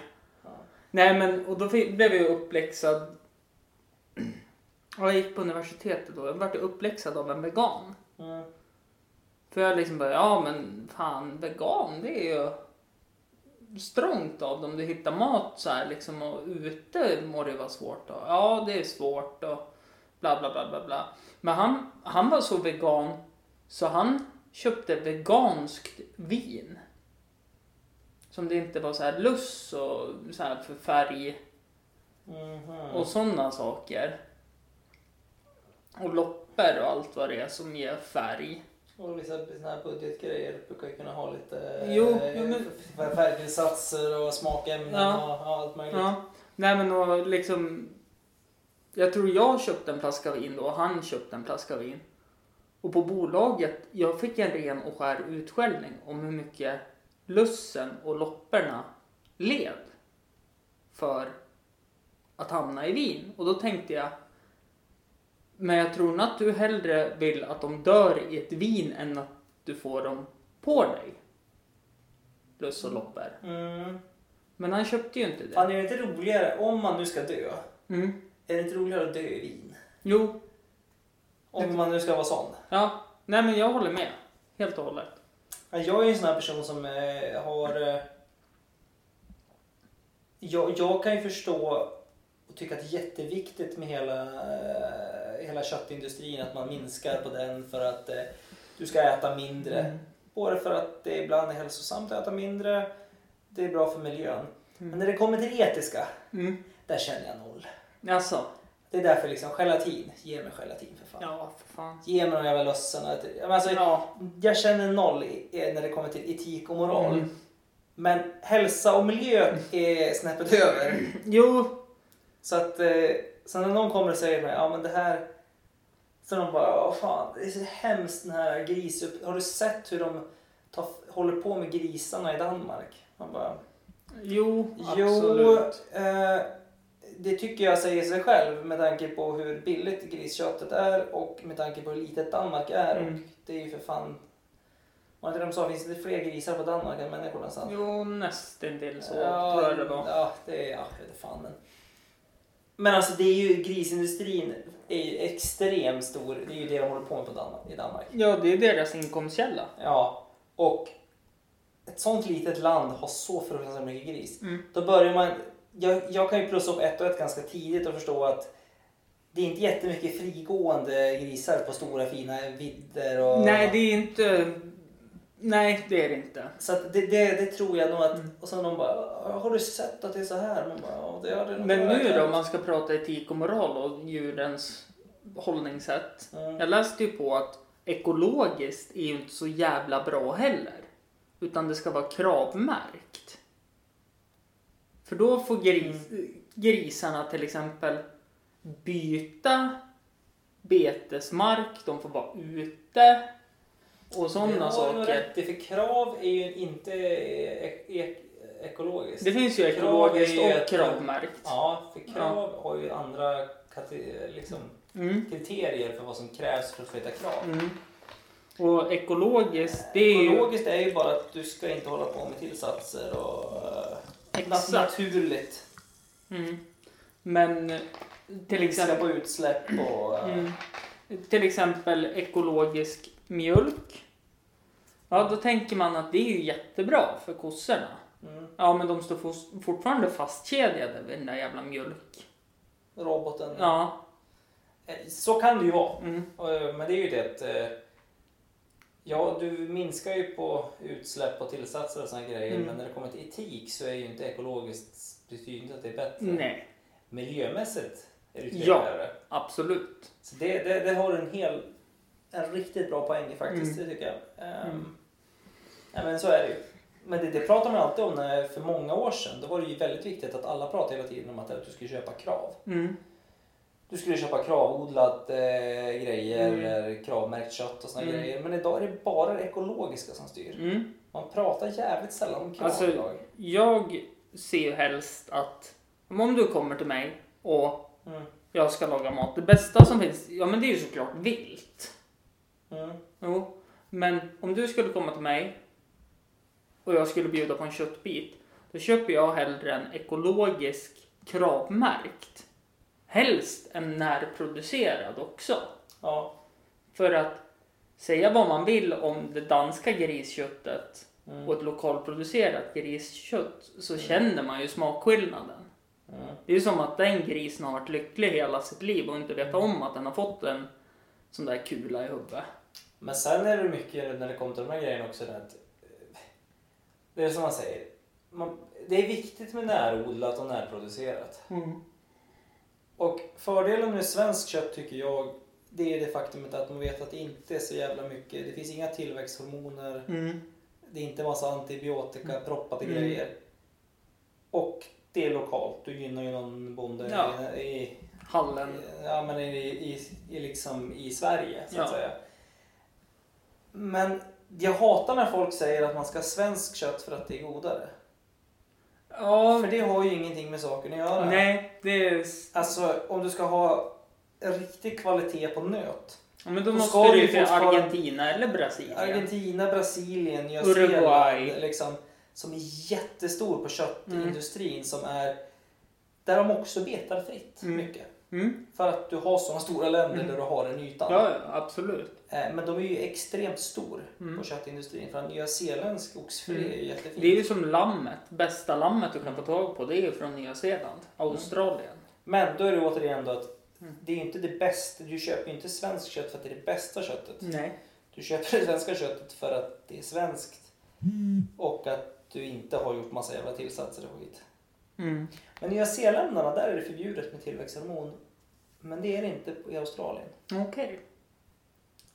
Ja.
Nej, men och då fick, blev jag ju uppläxad. Ja, Jag gick på universitetet då. Jag vart ju uppläxad av en vegan.
Mm.
För jag liksom bara, ja men fan vegan det är ju strångt av dem. Du hittar mat så här liksom och ute må det vara svårt. Och, ja det är svårt och bla bla bla bla bla. Men han, han var så vegan så han köpte veganskt vin. Som det inte var så här luss och så här för färg
Mhm.
och sådana saker. Och loppor och allt vad det är som ger färg.
Och vissa såna här budgetgrejer brukar ju kunna ha lite
Jo,
eh,
jo, men-
f- färgtillsatser och smakämnen
Ja.
och ja, allt möjligt.
Ja. Nej men och liksom. Jag tror jag köpte en flaska vin då och han köpte en flaska vin. Och på bolaget, jag fick en ren och skär utskällning om hur mycket lussen och lopperna led för att hamna i vin. Och då tänkte jag, men jag tror nog att du hellre vill att de dör i ett vin än att du får dem på dig. Luss och lopper.
Mm.
Men han köpte ju inte det.
Fan, är det inte roligare, om man nu ska dö,
Mm.
är det inte roligare att dö i vin?
Jo,
Om man nu ska vara sån.
ja. Nej men jag håller med. Helt och hållet.
Ja, Jag är ju en sån här person som eh, har... Eh, jag, jag kan ju förstå och tycka att det är jätteviktigt med hela, eh, hela köttindustrin, att man minskar på den för att eh, du ska äta mindre. Både för att det ibland är hälsosamt att äta mindre, det är bra för miljön. Men när det kommer till det etiska,
Mm.
där känner jag noll.
Alltså.
Det är därför liksom gelatin, ge mig gelatin för fan.
Ja, för fan.
Ge mig de jävla lössen. och- Men Alltså,
Ja.
jag känner noll i- i- när det kommer till etik och moral.
Mm.
Men hälsa och miljö är snäppet över.
Jo.
Så att eh, sen när någon kommer och säger till mig, ja men det här. Så de bara, ja fan det är så hemskt den här grisupp... Har du sett hur de ta, håller på med grisarna i Danmark. Man bara,
Jo,
Jo,
absolut.
eh, det tycker jag säger sig själv med tanke på hur billigt grisköttet är och med tanke på hur litet Danmark är. Och
Mm.
det är ju för fan... Var inte de sa, finns det fler grisar på Danmark än människor nästan?
Jo, nästintill Mm. så
ja,
tror jag det var.
Ja, det är... Ja, jag vet fan. Men, men alltså det är ju grisindustrin är ju extremt stor. Det är ju det de håller på med på Danmark, i Danmark.
Ja, det är deras inkomstkälla.
Ja, och ett sånt litet land har så fruktansvärt mycket gris.
Mm.
Då börjar man... Jag, jag kan ju plussa upp ett och ett ganska tidigt och förstå att det är inte jättemycket frigående grisar på stora fina vidder. Och,
Nej, det är inte... Nej, det är det inte.
Så att det, det, det tror jag nog att...
Mm.
Och sen de bara “Har du sett att det är så här?” Man bara, ja, det har det nog
Men nu
verkligen."
då, om man ska prata etik och moral och djurens hållningssätt.
Mm.
Jag läste ju på att ekologiskt är ju inte så jävla bra heller. Utan det ska vara kravmärkt. För då får gris, grisarna till exempel byta betesmark, de får vara ute och
Det
sådana
har du nog
saker.
rätt i, för krav är ju inte ek, ek, ekologiskt.
Det finns ju
Krav
ekologiskt
är ju ett-
och kravmärkt.
Ja, för krav har ju andra kate- liksom,
Mm.
kriterier för vad som krävs för att flytta krav.
Mm. Och ekologiskt, det är ju...
Ekologiskt är ju bara att du ska inte hålla på med tillsatser och eh,
Exakt.
nat- naturligt.
Mm. Men till
Minska på
exempel,
utsläpp och... eh,
mm, till exempel ekologisk mjölk. Ja, då tänker man att det är ju jättebra för kossorna.
mm,
Ja, men de står fos- fortfarande fastkedjade vid den där jävla mjölk.
roboten.
Ja.
Eh, Så kan det ju vara.
Mm.
Och, eh, Men det är ju det att... eh, Ja, du minskar ju på utsläpp och tillsatser och såna grejer.
Mm.
Men när det kommer till etik så är ju inte ekologiskt betyder inte att det är bättre.
Nej,
Miljömässigt är det ju
Ja.
trevligare.
absolut.
Så det, det, det har en hel, en riktigt bra poäng i faktiskt, det tycker jag. Ehm,
Mm.
Nej men så är det ju. Men det, det pratar man alltid om när, för många år sedan. Då var det ju väldigt viktigt att alla pratade hela tiden om att eh, du skulle köpa krav.
Mm.
Du skulle köpa kravodlat eh, grejer
Mm.
eller kravmärkt kött och såna
Mm.
grejer. Men idag är det bara det ekologiska som styr.
Mm.
Man pratar jävligt sällan om krav
Alltså-
idag.
Jag ser ju helst att om du kommer till mig och
Mm.
jag ska laga mat. Det bästa som finns, ja men det är ju såklart vilt.
Mm.
Jo, men om du skulle komma till mig och jag skulle bjuda på en köttbit. Då köper jag hellre en ekologisk kravmärkt. Helst en närproducerad också.
Ja.
För att säga vad man vill om det danska grisköttet
Mm.
och ett lokalproducerat griskött så känner man ju smakskillnaden.
Mm.
Det är ju som att den grisen har varit lycklig hela sitt liv och inte vet om att den har fått en sån där kula i huvudet.
Men sen är det mycket när det kommer till de här grejerna också. det Att, eh, det är som man säger. Man, det är viktigt med närodlat och närproducerat. Och fördelen med svenskt kött tycker jag det är det faktumet att man vet att det inte är så jävla mycket. Det finns inga tillväxthormoner.
Mm.
Det är inte massa antibiotika proppade
Mm.
grejer. Och det är lokalt. Du gynnar ju någon bonde
Ja.
i, i
Hallen.
Ja, men i, i, i, liksom i Sverige, så att
Ja.
säga. Men jag hatar när folk säger att man ska ha svensk kött för att det är godare.
Ja,
För det har ju ingenting med saken att göra.
nej, det är...
Alltså, om du ska ha en riktig kvalitet på nöt.
Ja, men då
Då
måste
ska
du
vi
ju till
fortfarande-
Argentina eller Brasilien.
Argentina, Brasilien, Nya
Uruguay.
Zeeland. Liksom, som är jättestor på köttindustrin. Som är, där de också betar fritt
Mm.
mycket.
Mm.
För att du har sådana stora länder
Mm.
där du har den ytan.
Ja, ja, absolut.
Eh, Men de är ju extremt stor
Mm.
på köttindustrin. För en nyzeeländsk oxfilé
Mm.
är ju jättefin.
Det är ju som lammet. Bästa lammet du kan få tag på det är ju från Nya Zeeland. Australien.
Men då är det återigen då att
Mm.
det är inte det bästa. Du köper ju inte svenskt kött för att det är det bästa köttet.
Nej.
Du köper det svenska köttet för att det är svenskt. Och att du inte har gjort massa jävla tillsatser och skit.
Mm.
Men i Nya Zeeländarna, där är det förbjudet med tillväxthormon. Men det är det inte i Australien.
Okej.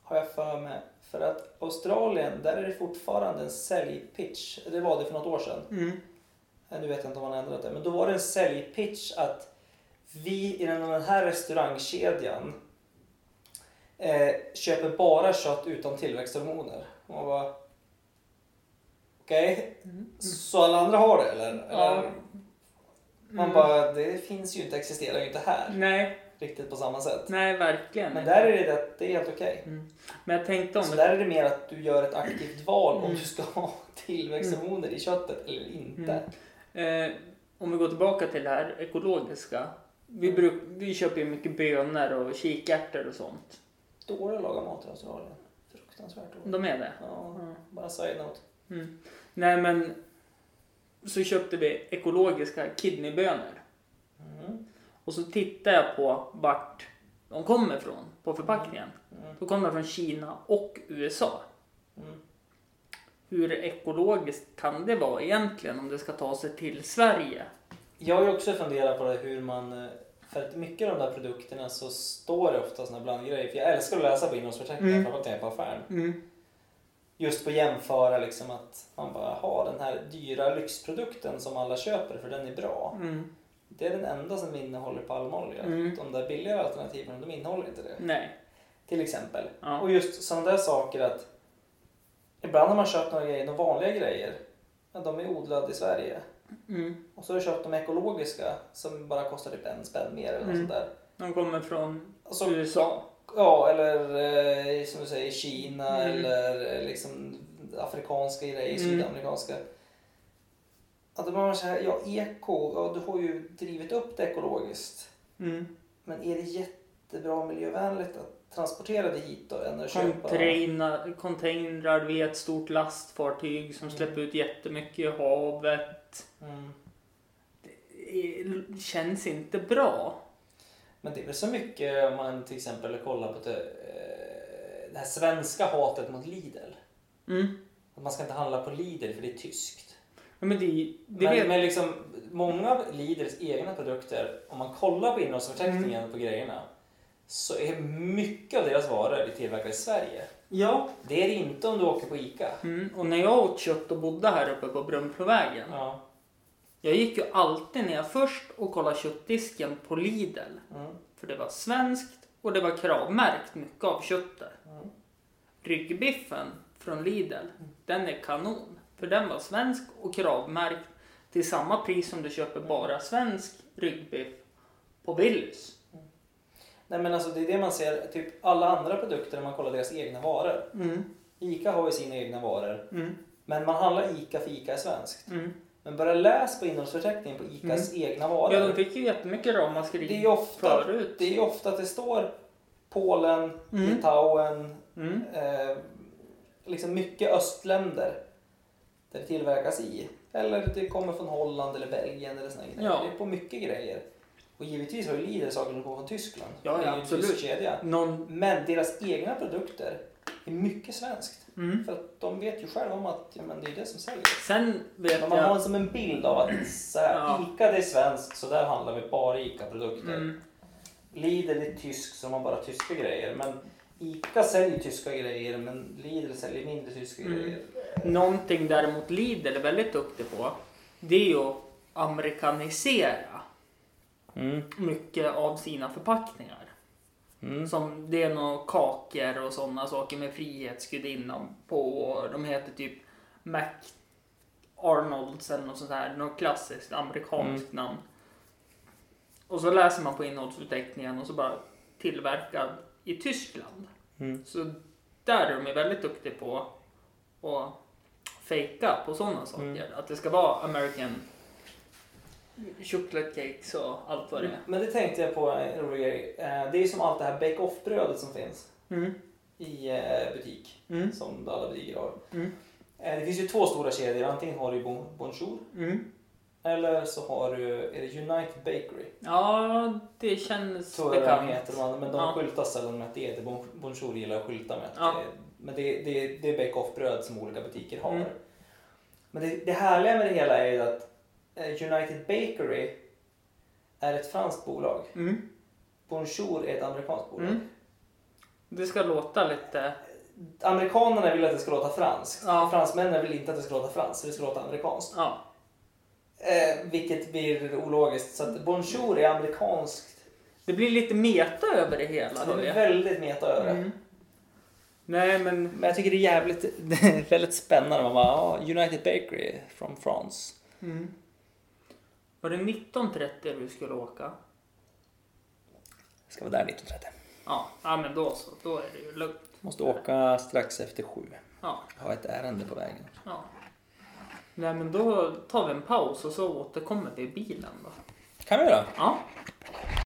Har jag för mig. För att Australien, där är det fortfarande en säljpitch. Det var det för något år sedan.
Mm.
Nej, Nu vet jag inte om han har ändrat det, men då var det en säljpitch att vi i den här restaurangkedjan eh, köper bara kött utan tillväxthormoner. Och man bara, Okej. Så alla andra har det eller?
Mm. Ja.
eller? Man
Mm.
bara, det finns ju inte, existerar ju inte här
Nej,
riktigt på samma sätt.
nej verkligen
Men
inte. Mm.
där är det att det är helt okej.
Men jag tänkte om
Så
det.
där är det mer att du gör ett aktivt val om
Mm.
du ska ha tillväxthormoner i köttet eller inte.
Mm. Eh, om vi går tillbaka till det här ekologiska. Vi, bruk, vi köper ju mycket bönor och kikärtor och sånt.
Dåliga att laga mat i Australien. Fruktansvärt dåligt.
De är det?
Ja,
Mm.
bara side-note.
Mm. Nej men. Så köpte vi ekologiska kidneybönor.
Mm.
Och så tittade jag på vart de kommer ifrån på förpackningen.
Mm.
Då kommer de från Kina och USA.
Mm.
Hur ekologiskt kan det vara egentligen om det ska ta sig till Sverige?
Jag har ju också funderat på det hur man... eh, För att mycket av de där produkterna så står det ofta såna blandgrejer. För jag älskar att läsa på innehållsförteckningar,
Mm.
framförallt när jag är på affären. Just på att jämföra liksom att man bara har den här dyra lyxprodukten som alla köper för den är bra.
Mm.
Det är den enda som innehåller palmolja.
Mm.
De där billigare alternativen de innehåller inte det.
Nej.
Till exempel.
Ja.
Och just sådana där saker att ibland har man köpt några grejer, några vanliga grejer. Ja, de är odlade i Sverige.
Mm.
Och så har jag köpt de ekologiska som bara kostar typ en spänn mer eller något
Mm.
sånt där.
De kommer från
Och så-
USA.
Ja, eller eh, som du säger Kina
Mm.
eller eh, liksom afrikanska grejer,
Mm.
sydamerikanska. Att då börjar man säga, ja eko, ja, du har ju drivit upp det ekologiskt.
Mm.
Men är det jättebra miljövänligt att transportera det hit då? Än att köpa...
Container, containrar, vi är ett stort lastfartyg som släpper ut jättemycket i havet.
Mm.
Det eh, känns inte bra.
Men det är väl så mycket om man till exempel kollar på det, eh, det här svenska hatet mot Lidl.
Mm.
Att man ska inte handla på Lidl för det är tyskt.
Ja, men det, det
men,
vet
men liksom, många av Lidls egna produkter, om man kollar på innehållsförteckningen
Mm.
på grejerna, så är mycket av deras varor tillverkade i Sverige.
Ja.
Det är det inte om du åker på ICA.
Mm. Och när jag åt kött och bodde här uppe på Brunflovägen.
Ja.
Jag gick ju alltid ner först och kollade köttdisken på Lidl.
Mm.
För det var svenskt och det var kravmärkt mycket av köttet.
Mm.
Ryggbiffen från Lidl, den är kanon. För den var svensk och kravmärkt till samma pris som du köper bara svensk ryggbiff på Willys.
Nej men alltså det är det man ser, typ alla andra produkter när man kollar deras egna varor.
Mm,
ICA har ju sina egna varor,
mm,
men man handlar ICA för ICA är svenskt.
mm.
Men börja läs på innehållsförteckningen på ICAs egna varor.
Ja, de fick ju jättemycket ramaskri
det, är ju ofta,
förut.
det är ju ofta att det står Polen,
Mm.
Litauen,
Mm.
eh, liksom mycket östländer där det tillverkas i. Eller det kommer från Holland eller Belgien eller såna grejer.
Ja.
Det är på mycket grejer. Och givetvis har ju Lidl saker som kommer från Tyskland.
Ja,
det
ja,
är ju en
absolut.
tysk kedja.
Någon...
Men deras egna produkter är mycket svenskt.
Mm.
För att de vet ju själva om att ja, men det är det som säljer.
Sen vet
Men man har
jag...
som en bild av att så här,
Ja.
Ica det är svenskt så där handlar vi bara Ica-produkter.
Mm,
Lidl är tysk så de har bara tyska grejer. Men Ica säljer tyska grejer men Lidl säljer mindre tyska
Mm.
grejer.
någonting däremot Lidl är väldigt duktig på, det är ju att amerikanisera. mycket av sina förpackningar. Som det är några kakor och sådana saker med Frihetsgudinnan på. och De heter typ Mac Arnolds eller något sånt här. Något klassiskt amerikanskt namn. Och så läser man på innehållsförteckningen och så bara tillverkad i Tyskland.
Mm.
Så där är de ju väldigt duktiga på att fejka på sådana saker. Att det ska vara American chocolate cakes och allt vad det är.
Men det tänkte jag på en rolig grej. Eh, Det är som allt det här bake off brödet som finns
Mm.
i eh, butik.
Mm.
Som alla butiker har.
Mm.
Eh, Det finns ju två stora kedjor. Antingen har du Bon- Bonjour
Mm.
eller så har du är det Unite Bakery.
Ja, det känns
Så är det de heter,
bekant.
de andra, men de
Ja.
skyltar sällan med att det heter Bon- Bonjour gillar att skylta med. Att
Ja.
det, men det, det, det är bake-off-bröd som olika butiker har.
Mm.
Men det, det härliga med det hela är ju att eh, United Bakery är ett franskt bolag.
Mm.
Bonjour är ett amerikanskt bolag.
Mm. Det ska låta lite...
Amerikanerna vill att det ska låta franskt.
Ja.
Fransmännen vill inte att det ska låta franskt, så det ska låta amerikanskt.
Ja.
Eh, vilket blir ologiskt. Så att Bonjour är amerikanskt.
Det Mm. blir lite meta över det hela.
Det
hör
är
jag.
väldigt meta över det.
Mm. Nej men
Men jag tycker det är jävligt [laughs] det är väldigt spännande. Man bara, ja, United Bakery from France.
Mm. Var det 19.30 du skulle åka?
Ska vara där 19.30.
Ja, ja men då så. Då är det ju lugnt.
Måste åka strax efter sju.
Ja,
Har ett ärende på vägen.
ja. Nej men då tar vi en paus och så återkommer vi i bilen då.
kan vi göra.
Ja.